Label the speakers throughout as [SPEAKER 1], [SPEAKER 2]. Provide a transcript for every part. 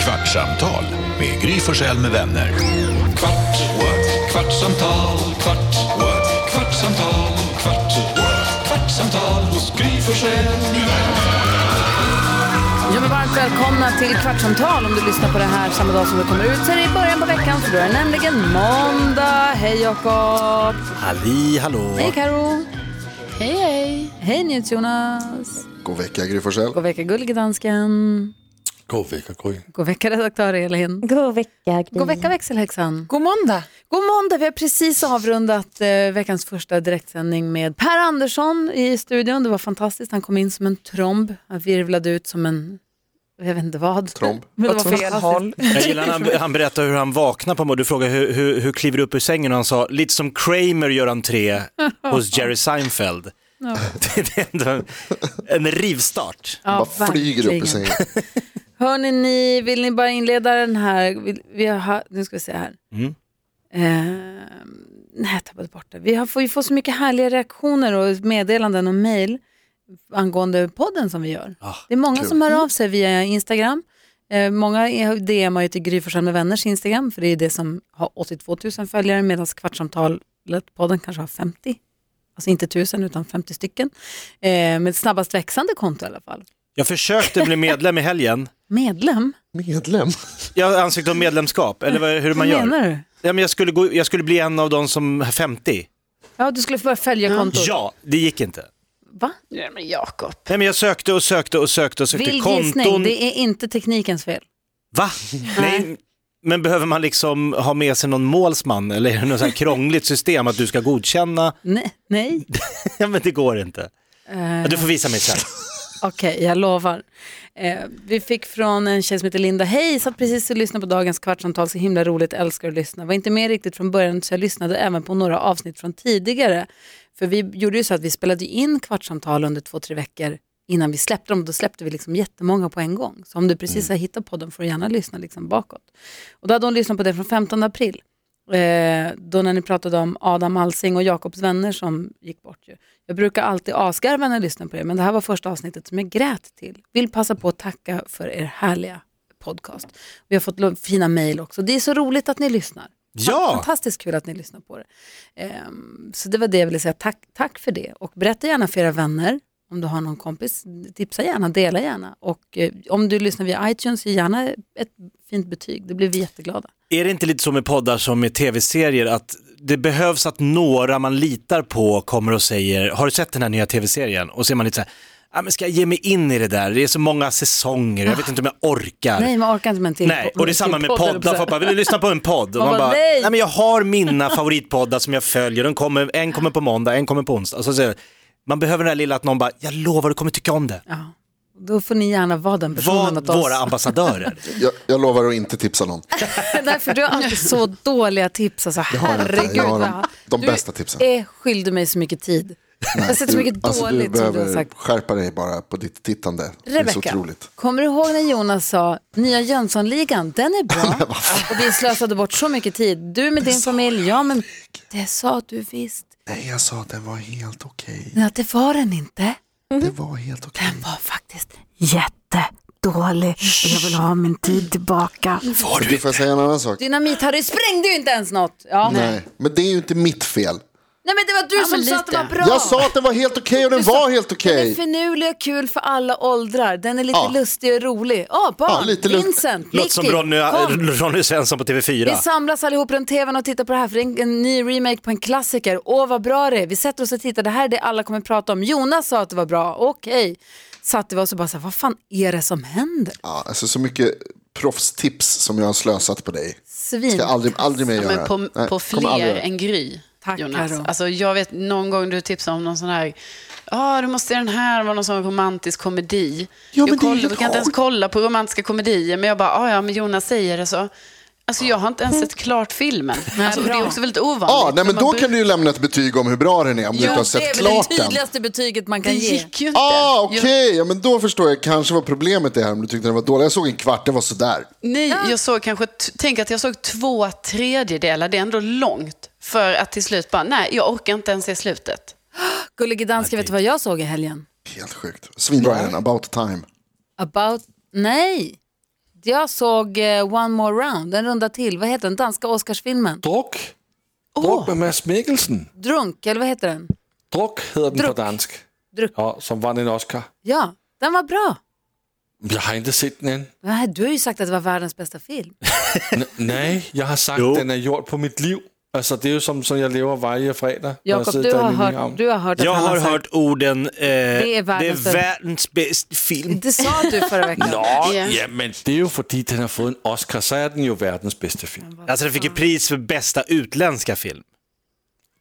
[SPEAKER 1] Kvartsamtal med Gry Forssell med vänner. Kvart, what? kvartsamtal, kvart, what? kvartsamtal, kvart, what? kvartsamtal hos Gry Forssell med vänner.
[SPEAKER 2] Ja, men varmt välkomna till Kvartsamtal om du lyssnar på det här samma dag som det kommer ut. Så är det i början på veckan för då är det nämligen måndag. Hej Jakob!
[SPEAKER 3] Halli hallå!
[SPEAKER 2] Hej Karo. Hej hej! Hej NyhetsJonas!
[SPEAKER 4] God vecka Gry Forssell.
[SPEAKER 2] God vecka gullige dansken!
[SPEAKER 3] God vecka Gry.
[SPEAKER 2] God vecka redaktör Elin!
[SPEAKER 5] God vecka. Gry.
[SPEAKER 2] God vecka växelhäxan!
[SPEAKER 6] God måndag.
[SPEAKER 2] God måndag! Vi har precis avrundat eh, veckans första direktsändning med Per Andersson i studion. Det var fantastiskt. Han kom in som en tromb. Han virvlade ut som en, jag vet inte vad.
[SPEAKER 4] Tromb.
[SPEAKER 2] Men det var
[SPEAKER 6] Fel
[SPEAKER 2] fantastiskt.
[SPEAKER 6] håll.
[SPEAKER 3] Jag gillar när han, han berättar hur han vaknar på morgonen. Du frågar hur, hur, hur kliver du upp ur sängen och han sa lite som Kramer gör entré hos Jerry Seinfeld. Det är ändå en, en rivstart.
[SPEAKER 2] Ja,
[SPEAKER 4] Bara flyger upp i
[SPEAKER 2] verkligen.
[SPEAKER 4] sängen.
[SPEAKER 2] Hörni, ni, vill ni bara inleda den här? Vill, vi har, nu ska vi se här.
[SPEAKER 3] Mm.
[SPEAKER 2] Eh, nej, jag tappade bort det. Vi, har, får- vi får så mycket härliga reaktioner och meddelanden och mejl angående podden som vi gör.
[SPEAKER 3] Ah,
[SPEAKER 2] det är många
[SPEAKER 4] kul.
[SPEAKER 2] som hör av sig via Instagram. Eh, många är- DMar ju till Gry Forssell med vänners Instagram, för det är det som har 82 000 följare, medan Kvartsamtalet, podden kanske har 50. Alltså inte 1000 utan 50 stycken. Eh, med snabbast växande konto i alla fall.
[SPEAKER 3] Jag försökte bli medlem i helgen.
[SPEAKER 2] Medlem?
[SPEAKER 4] Medlem.
[SPEAKER 3] Jag ansökte om medlemskap, eller vad- hur man
[SPEAKER 2] Vad
[SPEAKER 3] gör.
[SPEAKER 2] menar du?
[SPEAKER 3] Ja, men jag, skulle gå, jag skulle bli en av de som 50.
[SPEAKER 2] Ja, du skulle få börja följa kontot.
[SPEAKER 3] Ja, det gick inte.
[SPEAKER 2] Va?
[SPEAKER 3] Nej, men jag sökte och sökte och sökte och sökte
[SPEAKER 2] Vild gissning,
[SPEAKER 3] konton.
[SPEAKER 2] det är inte teknikens fel.
[SPEAKER 3] Va? Nej. Men behöver man liksom ha med sig någon målsman eller är det något så här krångligt system att du ska godkänna?
[SPEAKER 2] Nej, nej.
[SPEAKER 3] Ja, men det går inte. Ja, du får visa mig sen.
[SPEAKER 2] Okej, jag lovar. Eh, vi fick från en tjej som heter Linda, hej, satt precis och lyssnade på dagens kvartsamtal, så himla roligt, älskar att lyssna. Var inte med riktigt från början så jag lyssnade även på några avsnitt från tidigare. För vi gjorde ju så att vi spelade ju in kvartsamtal under två, tre veckor innan vi släppte dem, då släppte vi liksom jättemånga på en gång. Så om du precis har
[SPEAKER 3] Mm.
[SPEAKER 2] hittat podden får du gärna lyssna liksom bakåt. Och då hade hon lyssnat på det från 15 april. Eh, då när ni pratade om Adam Alsing och Jakobs vänner som gick bort. Ju. Jag brukar alltid asgarva när jag lyssnar på er, men det här var första avsnittet som jag grät till. Vill passa på att tacka för er härliga podcast. Vi har fått lo- fina mejl också. Det är så roligt att ni lyssnar.
[SPEAKER 3] Ja!
[SPEAKER 2] Fantastiskt kul att ni lyssnar på det. Ehm, så det var det jag ville säga. Tack, tack för det. Och berätta gärna för era vänner, om du har någon kompis, tipsa gärna, dela gärna. Och eh, om du lyssnar via iTunes, ge gärna ett fint betyg. Det blir vi jätteglada.
[SPEAKER 3] Är det inte lite så med poddar som med tv-serier att det behövs att några man litar på kommer och säger, har du sett den här nya tv-serien? Och så är man lite så här, "Ja, men ska jag ge mig in i det där? Det är så många säsonger, jag vet inte om jag orkar.
[SPEAKER 2] Nej, man orkar inte med en till
[SPEAKER 3] Nej,
[SPEAKER 2] po-
[SPEAKER 3] och det är
[SPEAKER 2] till
[SPEAKER 3] samma med
[SPEAKER 2] podd, höll jag på
[SPEAKER 3] poddar.
[SPEAKER 2] att säga.
[SPEAKER 3] Folk bara, vill du lyssna på en podd? Och
[SPEAKER 2] Man
[SPEAKER 3] man,
[SPEAKER 2] bara,
[SPEAKER 3] bara,
[SPEAKER 2] nej.
[SPEAKER 3] nej. men jag har mina favoritpoddar som jag följer, de kommer, en kommer på måndag, en kommer på onsdag. Alltså, så, man behöver den här lilla att någon bara, jag lovar du kommer tycka om det.
[SPEAKER 2] Ja. Då får ni gärna vara den personen
[SPEAKER 3] Var
[SPEAKER 2] åt oss.
[SPEAKER 3] våra ambassadörer.
[SPEAKER 4] Jag, jag lovar att inte tipsa någon.
[SPEAKER 2] Nej, för du har alltid så dåliga tips. Alltså,
[SPEAKER 4] Jag har, inte,
[SPEAKER 2] herregud.
[SPEAKER 4] jag har de,
[SPEAKER 2] vad-
[SPEAKER 4] de
[SPEAKER 2] du
[SPEAKER 4] bästa tipsen.
[SPEAKER 2] är skyldig mig så mycket tid. Jag har sett så mycket
[SPEAKER 4] alltså, du
[SPEAKER 2] dåligt som du har
[SPEAKER 4] behöver
[SPEAKER 2] sagt.
[SPEAKER 4] skärpa dig bara på ditt tittande. det är så
[SPEAKER 2] Rebecka,
[SPEAKER 4] otroligt.
[SPEAKER 2] kommer du ihåg när Jonas sa nya Jönssonligan, den är bra och vi slösade bort så mycket tid. Du med din familj, ja men det sa du visst.
[SPEAKER 4] Alltså, Nej, jag sa att den var helt okej. Mm-hmm.
[SPEAKER 2] Nej, det var den inte. Mm-hmm.
[SPEAKER 4] Det var helt okej.
[SPEAKER 2] Den var faktiskt jättedålig. Jag vill ha min tid tillbaka.
[SPEAKER 4] Du får jag säga en annan sak.
[SPEAKER 2] Dynamit-Harry sprängde ju inte ens något. Ja. Nej.
[SPEAKER 4] Nej, men det är ju inte mitt fel.
[SPEAKER 2] men det var du som
[SPEAKER 5] men
[SPEAKER 2] sa att det
[SPEAKER 5] lite.
[SPEAKER 2] var bra.
[SPEAKER 4] Jag sa att den var helt okej och den var helt
[SPEAKER 2] Den är
[SPEAKER 4] okej.
[SPEAKER 2] finurlig och kul för alla åldrar. Den är lite
[SPEAKER 4] Ja.
[SPEAKER 2] lustig och rolig. Ja, barn,
[SPEAKER 4] Ja, lite lust-
[SPEAKER 2] Vincent,
[SPEAKER 3] Låter som
[SPEAKER 2] Nicky,
[SPEAKER 3] Ronny, eh,
[SPEAKER 2] kom.
[SPEAKER 3] Ronny Svensson på TV4.
[SPEAKER 2] Vi samlas allihop runt tvn och tittar på det här, för det är en, en ny remake på en klassiker. Åh, vad bra det är. Vi sätter oss och tittar, det här är det alla kommer prata om. Jonas sa att det var bra, okej. Satte vi oss och bara så här, vad fan är det som händer?
[SPEAKER 4] Ja, alltså så mycket proffstips som jag har slösat på dig.
[SPEAKER 2] Svin.
[SPEAKER 4] Ska jag aldrig, aldrig mer
[SPEAKER 5] Ja,
[SPEAKER 4] göra.
[SPEAKER 5] men på,
[SPEAKER 4] Nej,
[SPEAKER 5] på
[SPEAKER 4] kommer aldrig
[SPEAKER 5] fler
[SPEAKER 4] göra.
[SPEAKER 5] än Gry,
[SPEAKER 2] Tack,
[SPEAKER 5] Jonas.
[SPEAKER 2] Karo.
[SPEAKER 5] Alltså, jag vet någon gång du tipsade om någon sån här, ja du måste se den här, det var någon sån romantisk komedi.
[SPEAKER 4] men det är
[SPEAKER 5] jag koll,
[SPEAKER 4] helt
[SPEAKER 5] jag kan inte ens
[SPEAKER 4] sjukt.
[SPEAKER 5] kolla på romantiska komedier, men jag bara, "Ah, ja men Jonas säger det så. Alltså jag har inte ens sett klart filmen. Alltså, och det är också väldigt ovanligt.
[SPEAKER 4] Mm. Ja, nej,
[SPEAKER 5] för
[SPEAKER 4] men
[SPEAKER 5] man
[SPEAKER 4] då
[SPEAKER 5] bru-
[SPEAKER 4] kan du ju lämna ett betyg om hur bra den är om du inte har
[SPEAKER 2] det
[SPEAKER 4] sett
[SPEAKER 2] är väl
[SPEAKER 4] klart
[SPEAKER 2] det
[SPEAKER 4] den.
[SPEAKER 2] tydligaste betyget man
[SPEAKER 5] Det
[SPEAKER 2] kan ge.
[SPEAKER 5] gick ju inte.
[SPEAKER 4] Ah, okej,
[SPEAKER 5] Jag-
[SPEAKER 4] ja, men då förstår jag kanske vad problemet är här om du tyckte den var dålig. Jag såg en kvart, den var sådär.
[SPEAKER 5] Nej, jag såg kanske, t- tänk att jag såg två tredjedelar, det är ändå långt. För att till slut bara, nej, jag orkar inte ens se slutet.
[SPEAKER 2] Gullige danska, vet du vad jag såg i helgen?
[SPEAKER 4] Helt sjukt. Svinbra är den, about time.
[SPEAKER 2] About... Nej! Jag såg eh, One More Round, en runda till. Vad heter den? Danska Oscarsfilmen.
[SPEAKER 6] Druk. Druk med Mads Mikkelsen.
[SPEAKER 2] Drunk, eller vad heter den?
[SPEAKER 6] Druk hedder den
[SPEAKER 2] Druk.
[SPEAKER 6] på dansk.
[SPEAKER 2] Druk.
[SPEAKER 6] Ja, som vann en Oscar.
[SPEAKER 2] Ja, den var bra.
[SPEAKER 6] Jag har inte sett den än.
[SPEAKER 2] Nej, Du har ju sagt att det var världens bästa film.
[SPEAKER 6] N- nej, jag har sagt
[SPEAKER 3] Jo.
[SPEAKER 6] den är gjord på mitt liv. Alltså det är ju som, som jag lever varje fredag. när jag
[SPEAKER 2] Jakob,
[SPEAKER 6] sitter
[SPEAKER 2] du
[SPEAKER 6] i
[SPEAKER 2] har
[SPEAKER 6] min
[SPEAKER 2] hört,
[SPEAKER 6] hamn.
[SPEAKER 2] du har hört att
[SPEAKER 3] Jag
[SPEAKER 2] han
[SPEAKER 3] har
[SPEAKER 2] sagt-
[SPEAKER 3] hört orden, eh, det
[SPEAKER 2] är världens-
[SPEAKER 3] är världens bästa film.
[SPEAKER 2] Det sa du förra veckan.
[SPEAKER 6] Nå,
[SPEAKER 5] Ja.
[SPEAKER 6] ja, men det är ju för att den har fått en Oscar, så är den ju världens bästa film.
[SPEAKER 3] Alltså den fick ju pris för bästa utländska film.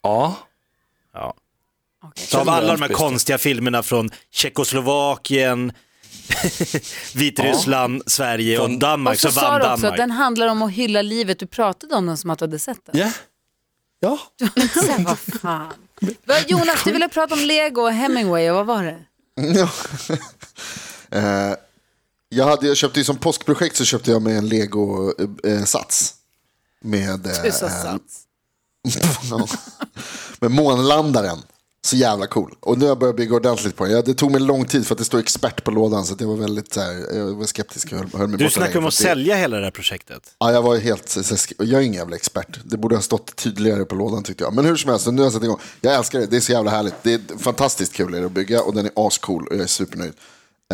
[SPEAKER 6] Ja,
[SPEAKER 3] Ja. Så av alla de här konstiga filmerna från Tjeckoslovakien, Vitryssland, Sverige och
[SPEAKER 2] Och
[SPEAKER 3] Danmark
[SPEAKER 2] så
[SPEAKER 3] så
[SPEAKER 2] sa
[SPEAKER 3] vann
[SPEAKER 2] du också att
[SPEAKER 3] Danmark.
[SPEAKER 2] den handlar om att hylla livet. Du pratade om den som att du hade sett den.
[SPEAKER 6] ja, ja.
[SPEAKER 2] Så här, vad fan. Vad- Jonas, du ville prata om Lego och Hemingway och vad var det?
[SPEAKER 4] Ja. Eh, jag, hade, jag köpte ju som påskprojekt så köpte jag mig en Lego-sats. Med, eh, eh, ja. med månlandaren. Så jävla cool. Och nu har jag börjat bygga ordentligt på den. Ja, det tog mig lång tid för att det står expert på lådan. Så att jag var väldigt så här, jag var skeptisk. Jag höll, höll mig
[SPEAKER 3] Du
[SPEAKER 4] borta
[SPEAKER 3] snackar
[SPEAKER 4] länge
[SPEAKER 3] om att
[SPEAKER 4] för det-
[SPEAKER 3] sälja hela det här projektet.
[SPEAKER 4] Ja, jag var ju helt, så- så- jag är ingen jävla expert. Det borde ha stått tydligare på lådan tyckte jag. Men hur som helst, nu har jag satt igång. Jag älskar det, det är så jävla härligt. Det är fantastiskt kul är det att bygga och den är ascool och jag är supernöjd.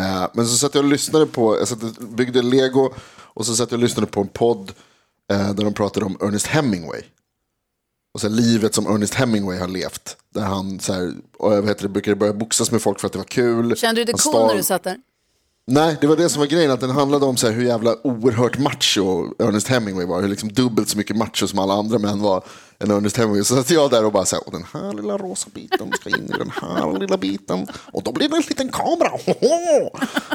[SPEAKER 4] Eh, men så satt jag och lyssnade på, jag satt och byggde lego och så satt jag och lyssnade på en podd eh, där de pratade om Ernest Hemingway. Och så här, livet som Ernest Hemingway har levt. Där han så här, och, vad heter det, brukade börja boxas med folk för att det var kul.
[SPEAKER 2] Kände du dig
[SPEAKER 4] Han
[SPEAKER 2] cool när
[SPEAKER 4] stal-
[SPEAKER 2] du satt där?
[SPEAKER 4] Nej, det var det som var grejen. Att den handlade om så här hur jävla oerhört macho Ernest Hemingway var. Hur liksom dubbelt så mycket macho som alla andra män var än Ernest Hemingway. Så satt jag där och bara så här, och den här lilla rosa biten ska in i den här lilla biten. Och då blir det en liten kamera. Hoho!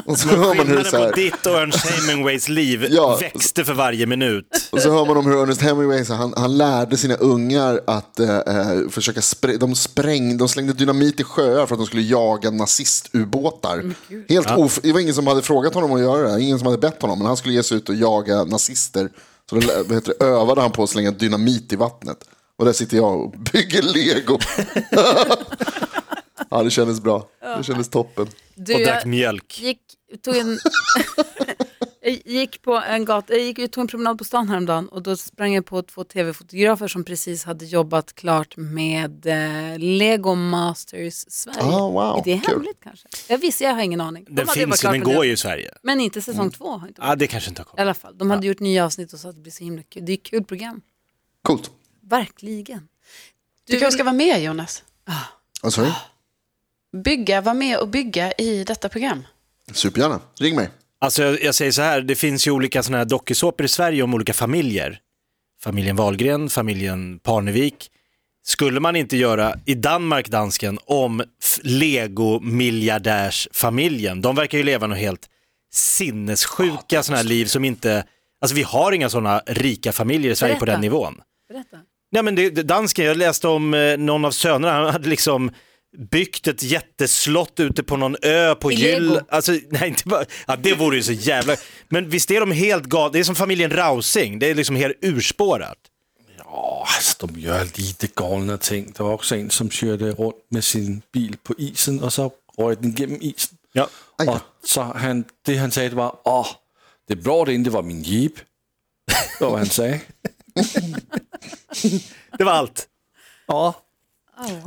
[SPEAKER 4] Och så hör man
[SPEAKER 3] Skillnaden
[SPEAKER 4] hur så
[SPEAKER 3] på
[SPEAKER 4] här,
[SPEAKER 3] ditt och Ernst Hemingways liv
[SPEAKER 4] Ja.
[SPEAKER 3] växte för varje minut.
[SPEAKER 4] Och så hör man om hur Ernest Hemingway så han, han lärde sina ungar att eh, eh, försöka spräng, de sprängde, de slängde dynamit i sjöar för att de skulle jaga nazistubåtar. Helt of, det var ingen som hade frågat honom att göra det, ingen som hade bett honom, men han skulle ge sig ut och jaga nazister. Så då lä- vad heter det, övade han på att slänga dynamit i vattnet. Och där sitter jag och bygger lego. ja, det kändes bra. Det kändes toppen.
[SPEAKER 2] Du,
[SPEAKER 3] Och drack
[SPEAKER 2] jag-
[SPEAKER 3] mjölk.
[SPEAKER 2] gick, tog en, jag gick på en gata, jag gick, jag tog en promenad på stan häromdagen och då sprang jag på två tv-fotografer som precis hade jobbat klart med eh, Lego Masters Sverige.
[SPEAKER 4] Ah, wow,
[SPEAKER 2] är det
[SPEAKER 4] kul.
[SPEAKER 2] hemligt kanske? Jag visste, jag har ingen aning. De
[SPEAKER 3] Den
[SPEAKER 2] hade jobbat
[SPEAKER 3] finns ju,
[SPEAKER 2] klart
[SPEAKER 3] den
[SPEAKER 2] med
[SPEAKER 3] går
[SPEAKER 2] det.
[SPEAKER 3] ju i Sverige.
[SPEAKER 2] Men inte säsong två. Har inte
[SPEAKER 3] Ja, det kanske inte har
[SPEAKER 2] I
[SPEAKER 3] kommit.
[SPEAKER 2] alla fall, de hade gjort nya avsnitt och sa att det blir så himla kul. Det är ett kul program,
[SPEAKER 4] Coolt.
[SPEAKER 2] verkligen.
[SPEAKER 5] Du kanske ska vara med Jonas?
[SPEAKER 4] Vad sa du?
[SPEAKER 5] Bygga, var med och bygga i detta program.
[SPEAKER 4] Supergärna. Ring mig.
[SPEAKER 3] Alltså jag, jag säger så här, det finns ju olika sådana här dokusåpor i Sverige om olika familjer. Familjen Wahlgren, familjen Parnevik. Skulle man inte göra i Danmark, dansken, om f- Lego-miljardärsfamiljen? De verkar ju leva något helt sinnessjuka sådana här liv som inte... Alltså vi har inga sådana rika familjer i Sverige på
[SPEAKER 2] Berätta.
[SPEAKER 3] den nivån.
[SPEAKER 2] Berätta.
[SPEAKER 3] Nej men det, det, dansken, jag läste om eh, någon av sönerna, han hade liksom byggt ett jätteslott ute på någon ö på
[SPEAKER 2] I
[SPEAKER 3] Gyll.
[SPEAKER 2] Lego.
[SPEAKER 3] Alltså, nej, inte bara, ja, det vore ju så jävla... Men visst är de helt galna, det är som familjen Rausing, det är liksom helt urspårat.
[SPEAKER 6] Åh, altså, de gör lite galna ting. Der var också en, som körde runt med sin bil på isen, och så røg den genom isen.
[SPEAKER 3] Ja.
[SPEAKER 4] ja.
[SPEAKER 6] Och så han, det han sa, det var, åh, det är bra det inte var min jeep. Det var vad han sa.
[SPEAKER 3] Det var allt.
[SPEAKER 6] Ja.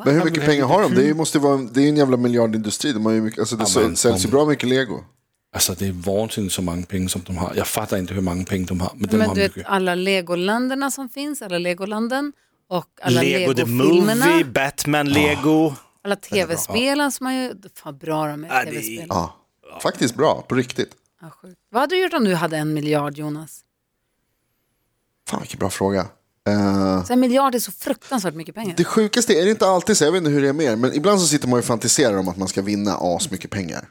[SPEAKER 4] Men hur mycket pengar har de? Det är ju- måste ju vara en, det är ju en jävla miljardindustri. De har ju mycket, alltså det
[SPEAKER 6] Ja,
[SPEAKER 4] så-
[SPEAKER 6] men-
[SPEAKER 4] säljs ju bra mycket lego.
[SPEAKER 6] Alltså det är vansinnigt så många pengar som de har. Jag fattar inte hur många pengar de har, men de
[SPEAKER 2] Men
[SPEAKER 6] har
[SPEAKER 2] du
[SPEAKER 6] mycket.
[SPEAKER 2] vet alla legoländerna som finns, alla legolanden och alla
[SPEAKER 3] Lego the
[SPEAKER 2] legofilmerna.
[SPEAKER 3] Movie, Batman, Lego.
[SPEAKER 2] Alla tv-spelen som man ju... Fan, bra de är,
[SPEAKER 3] det är-
[SPEAKER 2] tv-spel.
[SPEAKER 4] Ja. Faktiskt bra, på riktigt.
[SPEAKER 2] Ja, sjukt. Vad hade du gjort om du hade en miljard, Jonas?
[SPEAKER 4] Fan vilken bra fråga. Eh,
[SPEAKER 2] Så en miljard är så fruktansvärt mycket pengar.
[SPEAKER 4] det sjukaste är det inte alltid så, jag vet inte hur det är med er, men ibland så sitter man ju och fantiserar om att man ska vinna as mycket pengar.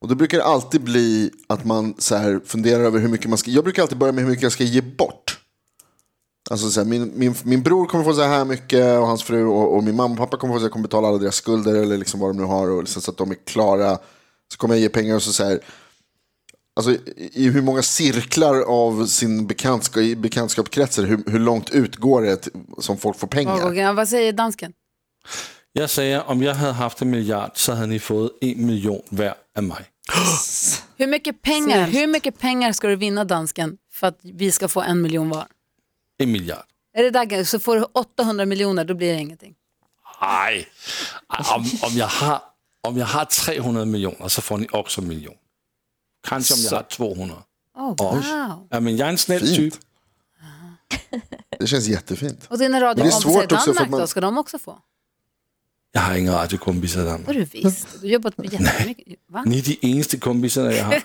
[SPEAKER 4] Och då brukar det alltid bli att man så här funderar över hur mycket man ska, jag brukar alltid börja med hur mycket jag ska ge bort. Alltså så här, min, min, min bror kommer få så här mycket och hans fru och, och min mamma och pappa kommer få så här, jag kommer betala alla deras skulder eller liksom vad de nu har och liksom, så att de är klara. Så kommer jag ge pengar och så, så här, alltså, i- i hur många cirklar av sin bekantskap, i bekantskapskretsar, hur, hur långt ut går det till, som folk får
[SPEAKER 2] Vad
[SPEAKER 4] pengar?
[SPEAKER 2] går- ja, vad säger dansken?
[SPEAKER 6] Jag säger, om jag hade haft en miljard så hade ni fått en miljon var av mig.
[SPEAKER 2] Hur mycket, pengar,
[SPEAKER 5] Snällt.
[SPEAKER 2] hur mycket pengar ska du vinna dansken för att vi ska få en miljon var?
[SPEAKER 6] En miljard.
[SPEAKER 2] Är det där, så får du 800 miljoner, då blir det ingenting.
[SPEAKER 6] Nej, om, om, jag har, om jag har 300 miljoner så får ni också en miljon. Kanske om jag har 200.
[SPEAKER 2] Oh,
[SPEAKER 6] Ja.
[SPEAKER 2] wow.
[SPEAKER 6] Ja, men jag är en snäll
[SPEAKER 4] Fint.
[SPEAKER 6] typ.
[SPEAKER 4] Det känns jättefint.
[SPEAKER 2] Och dina
[SPEAKER 4] svårt
[SPEAKER 2] radiokompisar i
[SPEAKER 4] också för att
[SPEAKER 2] Danmark
[SPEAKER 4] man-
[SPEAKER 2] då, ska de också få?
[SPEAKER 6] Jag har inga radiokompisar i
[SPEAKER 2] Vad
[SPEAKER 6] Danmark.
[SPEAKER 2] du visst, du har jobbat med jättemycket. Va?
[SPEAKER 6] Ni är de eneste kompisarna jag har.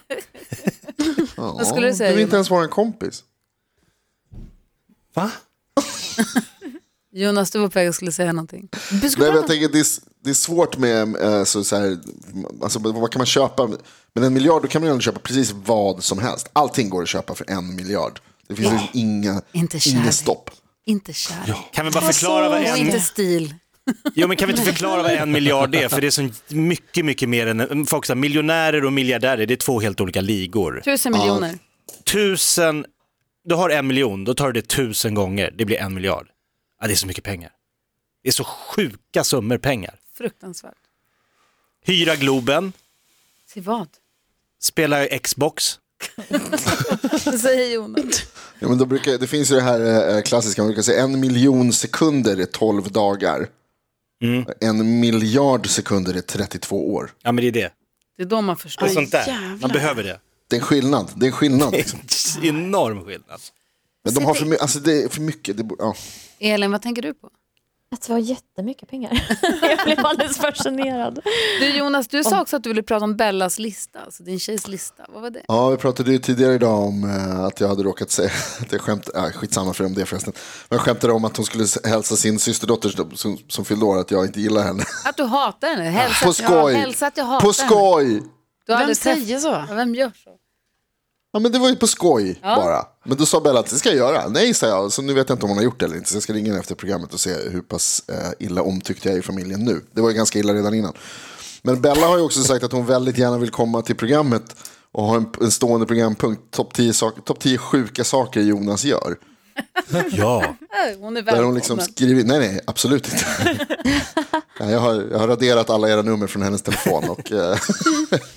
[SPEAKER 4] Ja,
[SPEAKER 2] Vad skulle du säga,
[SPEAKER 4] Du vill inte
[SPEAKER 2] Jonas?
[SPEAKER 4] ens vara en kompis.
[SPEAKER 6] Va?
[SPEAKER 2] Jonas, du var på väg och skulle säga någonting.
[SPEAKER 7] Du skulle
[SPEAKER 4] Nej, men jag
[SPEAKER 7] prata-
[SPEAKER 4] tänker, det, är, s- det är svårt med, eh, så, så här, alltså, men vad kan man köpa? Med en miljard då kan man ju ändå köpa precis vad som helst. Allting går att köpa för en miljard. Det finns liksom inga,
[SPEAKER 2] Inte
[SPEAKER 4] inga
[SPEAKER 2] kärlek.
[SPEAKER 4] stopp.
[SPEAKER 2] Inte kärlek
[SPEAKER 3] Kan vi bara förklara vad
[SPEAKER 2] och
[SPEAKER 3] en...
[SPEAKER 2] inte stil.
[SPEAKER 3] Jo, men kan vi inte förklara vad en miljard är? För det är så mycket, mycket mer än... Folk säger miljonärer och miljardärer, det är två helt olika ligor.
[SPEAKER 2] Tusen miljoner.
[SPEAKER 3] Tusen... Du har en miljon, då tar du det tusen gånger. Det blir en miljard. Ja, det är så mycket pengar. Det är så sjuka summor pengar.
[SPEAKER 2] Fruktansvärt.
[SPEAKER 3] Hyra Globen,
[SPEAKER 2] Till vad?
[SPEAKER 3] spela Xbox.
[SPEAKER 2] Vad säger Jonas?
[SPEAKER 4] Ja, men då brukar, det finns ju det här eh, klassiska, man brukar säga en miljon sekunder är 12 dagar. En miljard sekunder är 32 år.
[SPEAKER 3] Ja, men det är det.
[SPEAKER 2] Det är då man
[SPEAKER 3] Och
[SPEAKER 2] förstår.
[SPEAKER 4] Alltså-
[SPEAKER 3] sånt där.
[SPEAKER 5] jävlar.
[SPEAKER 3] Man behöver det.
[SPEAKER 4] Det är en skillnad. Det är en skillnad. liksom.
[SPEAKER 3] Enorm skillnad.
[SPEAKER 4] Men de har för, my- alltså, det är för mycket. Det, borde- ja.
[SPEAKER 2] Elin, vad tänker du på?
[SPEAKER 7] Att det var jättemycket pengar. jag blev alldeles fascinerad.
[SPEAKER 2] Du Jonas, du sa också att du ville prata om Bellas lista, alltså din tjejs lista. Vad var det?
[SPEAKER 4] Ja, vi pratade ju tidigare idag om eh, att jag hade råkat säga, att jag skämt, äh, skitsamma för om det förresten, men jag skämtade om att hon skulle s- hälsa sin systerdotter som- som, som fyllde år att jag inte gillar henne.
[SPEAKER 2] Att du hatar henne. Hälsa,
[SPEAKER 4] På
[SPEAKER 2] att, jag,
[SPEAKER 4] skoj!
[SPEAKER 2] hälsa att jag hatar
[SPEAKER 4] På
[SPEAKER 2] henne.
[SPEAKER 4] skoj!
[SPEAKER 2] Du har
[SPEAKER 5] Vem
[SPEAKER 2] aldrig träff-
[SPEAKER 5] säger så?
[SPEAKER 2] Ja, vem gör så?
[SPEAKER 4] Ja, men det var ju på skoj bara. Men då sa Bella att det ska jag göra. Nej, sa jag. Så nu vet jag inte om hon har gjort det eller inte. Så jag ska ringa henne efter programmet och se hur pass eh, illa omtyckt jag är i familjen nu. Det var ju ganska illa redan innan. Men Bella har ju också sagt att hon väldigt gärna vill komma till programmet och ha en, en stående programpunkt. Topp 10, sak, top 10 sjuka saker Jonas gör.
[SPEAKER 3] Ja.
[SPEAKER 2] Äh, Hon är
[SPEAKER 4] Där hon
[SPEAKER 2] välkommen.
[SPEAKER 4] liksom skriver, nej nej, absolut inte. Nej, jag, har, jag har raderat alla era nummer från hennes telefon och eh,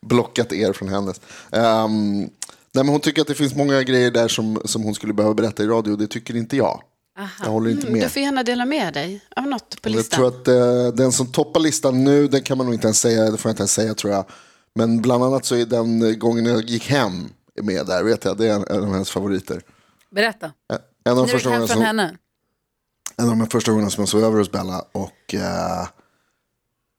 [SPEAKER 4] blockat er från hennes. Ehm, nej, men hon tycker att det finns många grejer där som, som hon skulle behöva berätta i radio och det tycker inte jag. Jag håller
[SPEAKER 2] Mm,
[SPEAKER 4] inte
[SPEAKER 5] Du
[SPEAKER 4] med.
[SPEAKER 5] får gärna dela med dig av något på
[SPEAKER 4] Jag
[SPEAKER 5] listan.
[SPEAKER 4] tror att eh, den som toppar listan nu, den kan man nog inte ens säga, det får jag inte ens säga tror jag. Men bland annat så är den gången jag gick hem med där, vet jag, det är en, en av hennes favoriter.
[SPEAKER 2] Berätta.
[SPEAKER 4] En
[SPEAKER 2] När
[SPEAKER 4] av de
[SPEAKER 2] du
[SPEAKER 4] första
[SPEAKER 2] gick hem
[SPEAKER 4] gångerna
[SPEAKER 2] från
[SPEAKER 4] som,
[SPEAKER 2] henne.
[SPEAKER 4] en av de här första gångerna som jag sov över hos Bella och eh,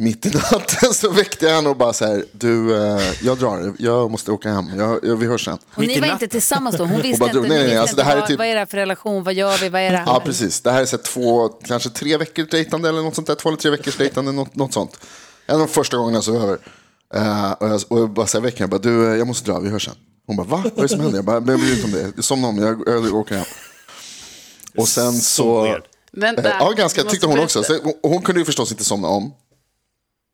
[SPEAKER 4] mitt i natten så väckte jag henne och bara så här, du, eh, jag drar, jag måste åka hem, jag, jag, vi hörs sen.
[SPEAKER 2] Och
[SPEAKER 3] Mitt
[SPEAKER 2] ni
[SPEAKER 3] i
[SPEAKER 2] var
[SPEAKER 3] natten.
[SPEAKER 2] inte tillsammans då? Hon visste
[SPEAKER 4] bara
[SPEAKER 2] inte,
[SPEAKER 4] drog,
[SPEAKER 2] ni
[SPEAKER 4] nej, nej,
[SPEAKER 2] visste
[SPEAKER 4] nej, alltså det
[SPEAKER 2] inte
[SPEAKER 4] här är
[SPEAKER 2] vad,
[SPEAKER 4] typ-
[SPEAKER 2] vad är det här för relation? Vad gör vi? Vad är det här?
[SPEAKER 4] Ja, precis. Det här är så här, två, kanske tre veckor dejtande eller något sånt där, två eller tre veckors dejtande, något, något sånt. En av de första gångerna jag sov över. Eh, och, jag, och jag bara så här, väcker henne, jag bara, du, eh, jag måste dra, vi hörs sen. Hon bara, va? Vad är det som händer? Jag bara, "Men jag bryr mig inte om det, Jag somnar om, jag, jag åker hem. Och sen så...
[SPEAKER 3] weird.
[SPEAKER 5] Vänta,
[SPEAKER 4] Eh, Ja, ganska,
[SPEAKER 5] du måste
[SPEAKER 4] tyckte hon
[SPEAKER 5] berätta.
[SPEAKER 4] också. Så hon, hon kunde ju förstås inte somna om.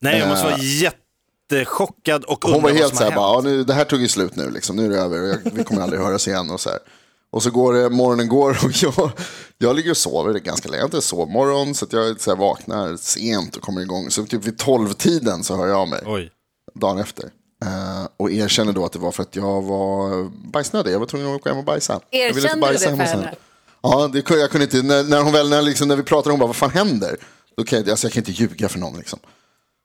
[SPEAKER 3] Nej, jag måste vara jättechockad och undra
[SPEAKER 4] eh, Hon var
[SPEAKER 3] vad
[SPEAKER 4] helt
[SPEAKER 3] som
[SPEAKER 4] så
[SPEAKER 3] har
[SPEAKER 4] här, bara,
[SPEAKER 3] hänt.
[SPEAKER 4] ja, nu, det här tog ju slut nu, liksom. nu är det över, och jag, vi kommer aldrig höras igen. Och så, här. och så går det, morgonen går och jag, jag ligger och sover ganska länge, jag har inte sovmorgon, så att jag så här, vaknar sent och kommer igång. Så typ vid tolvtiden så hör jag av mig,
[SPEAKER 3] Oj.
[SPEAKER 4] dagen efter. Eh, och erkänner då att det var för att jag var bajsnödig, jag var tvungen att åka hem och bajsa. jag ville
[SPEAKER 2] Erkände
[SPEAKER 4] inte
[SPEAKER 2] du det
[SPEAKER 4] hemma
[SPEAKER 2] för
[SPEAKER 4] sen.
[SPEAKER 2] henne?
[SPEAKER 4] Ja, det, kunde- jag kunde inte, när, när hon väl, när, liksom, när vi pratade, hon bara, vad fan händer? Då kan jag, alltså, jag kan inte ljuga för någon liksom.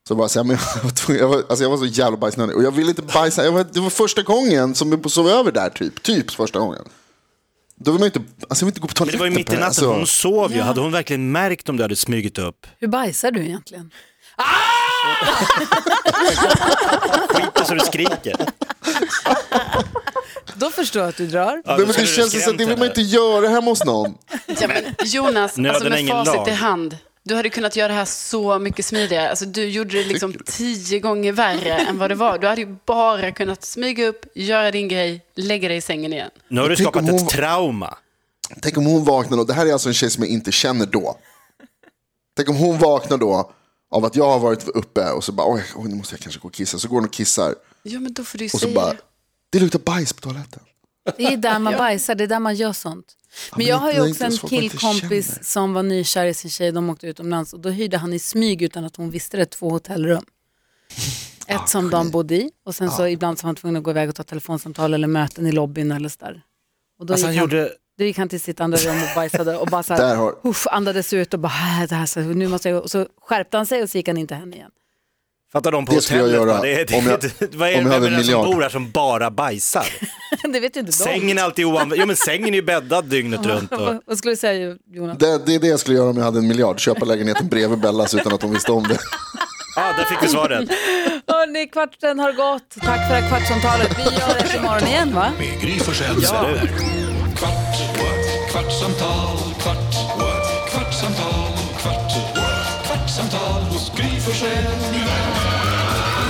[SPEAKER 4] Så bara, så här, men jag, var tvungen, jag, var, alltså, jag var så jävla bajsnödig. Och jag ville inte bajsa. Jag var, det var första gången som jag sov över där, typ. Typ första gången. Då vill man ju inte, alltså, jag vill inte gå på
[SPEAKER 3] Men
[SPEAKER 4] toaletten.
[SPEAKER 3] det var ju mitt i
[SPEAKER 4] på det här,
[SPEAKER 3] natten, hon
[SPEAKER 4] alltså.
[SPEAKER 3] sov ju. Hade hon verkligen märkt om det hade smugit upp?
[SPEAKER 2] Hur bajsar du egentligen?
[SPEAKER 3] Skita så Alltså, du skriker.
[SPEAKER 2] Då förstår jag att du drar.
[SPEAKER 3] Ja,
[SPEAKER 4] Nej,
[SPEAKER 3] då
[SPEAKER 4] men det
[SPEAKER 3] skulle du
[SPEAKER 4] känns ju som att
[SPEAKER 3] skrämt
[SPEAKER 4] det vill man
[SPEAKER 3] henne.
[SPEAKER 4] inte göra hemma hos någon.
[SPEAKER 5] Ja, men Jonas,
[SPEAKER 3] Nöden
[SPEAKER 5] alltså
[SPEAKER 3] har
[SPEAKER 5] med
[SPEAKER 3] ingen
[SPEAKER 5] facit
[SPEAKER 3] lag.
[SPEAKER 5] i hand. Du hade kunnat göra det här så mycket smidigare. Alltså, du gjorde det liksom tio gånger värre än vad det var. Du hade ju bara kunnat smyga upp, göra din grej, lägga dig i sängen igen.
[SPEAKER 3] Nu har du
[SPEAKER 4] Tänk
[SPEAKER 3] skapat
[SPEAKER 4] om hon-
[SPEAKER 3] ett trauma.
[SPEAKER 4] Tänk om hon vaknar då. Det här är alltså en tjej som jag inte känner då. Tänk om hon vaknar då av att jag har varit uppe och så bara, oj, oj nu måste jag kanske gå och kissa. Så går hon och kissar
[SPEAKER 5] Ja, men då får du ju
[SPEAKER 4] och så
[SPEAKER 5] säga
[SPEAKER 4] bara,
[SPEAKER 5] det.
[SPEAKER 4] det luktar bajs på toaletten.
[SPEAKER 2] Det är där man bajsar, det är där man gör sånt. Men
[SPEAKER 4] men
[SPEAKER 2] jag har
[SPEAKER 4] det
[SPEAKER 2] ju
[SPEAKER 4] är
[SPEAKER 2] också
[SPEAKER 4] inte
[SPEAKER 2] en
[SPEAKER 4] så att man inte
[SPEAKER 2] killkompis
[SPEAKER 4] känner.
[SPEAKER 2] som var nykär i sin tjej, de åkte utomlands och då hyrde han i smyg utan att hon visste det två hotellrum. Ett som de bodde i och sen så ibland så var han tvungen att gå iväg och ta telefonsamtal eller möten i lobbyn eller sådär. Och då,
[SPEAKER 3] Alltså han
[SPEAKER 2] gick han,
[SPEAKER 3] gjorde,
[SPEAKER 2] då gick han till sitt andra rum och bajsade och bara så
[SPEAKER 4] Där
[SPEAKER 2] här,
[SPEAKER 4] har,
[SPEAKER 2] uff, andades ut och bara, "Ah, det här, så, nu måste jag, och så skärpte han sig och så gick han inte hem igen.
[SPEAKER 3] fattar de på
[SPEAKER 4] Det skulle jag
[SPEAKER 3] hotellet,
[SPEAKER 4] göra
[SPEAKER 3] va? det, det,
[SPEAKER 4] om jag-
[SPEAKER 3] vad är
[SPEAKER 4] om jag
[SPEAKER 3] det
[SPEAKER 4] hade
[SPEAKER 3] med
[SPEAKER 4] en
[SPEAKER 3] den som
[SPEAKER 4] miljard.
[SPEAKER 3] bor här som bara bajsar?
[SPEAKER 2] det vet ju inte de.
[SPEAKER 3] Sängen är alltid oanvänd, jo men sängen är ju bäddad dygnet runt. Och...
[SPEAKER 2] Vad- Vad skulle du säga Jonas?
[SPEAKER 4] det, det är det jag skulle göra om jag hade en miljard. Köpa lägenheten bredvid Bellas utan att hon visste om det.
[SPEAKER 3] Ah, där fick vi svaret.
[SPEAKER 2] Hörni, kvarten har gått. Tack för det här kvartsamtalet. Vi gör det imorgon igen va?
[SPEAKER 1] Med Gry Forssell med
[SPEAKER 3] Ja.
[SPEAKER 1] vänner. Kvart, what? kvartsamtal, kvart, what? kvartsamtal, kvart, what? kvartsamtal hos Gry Forssell med vänner.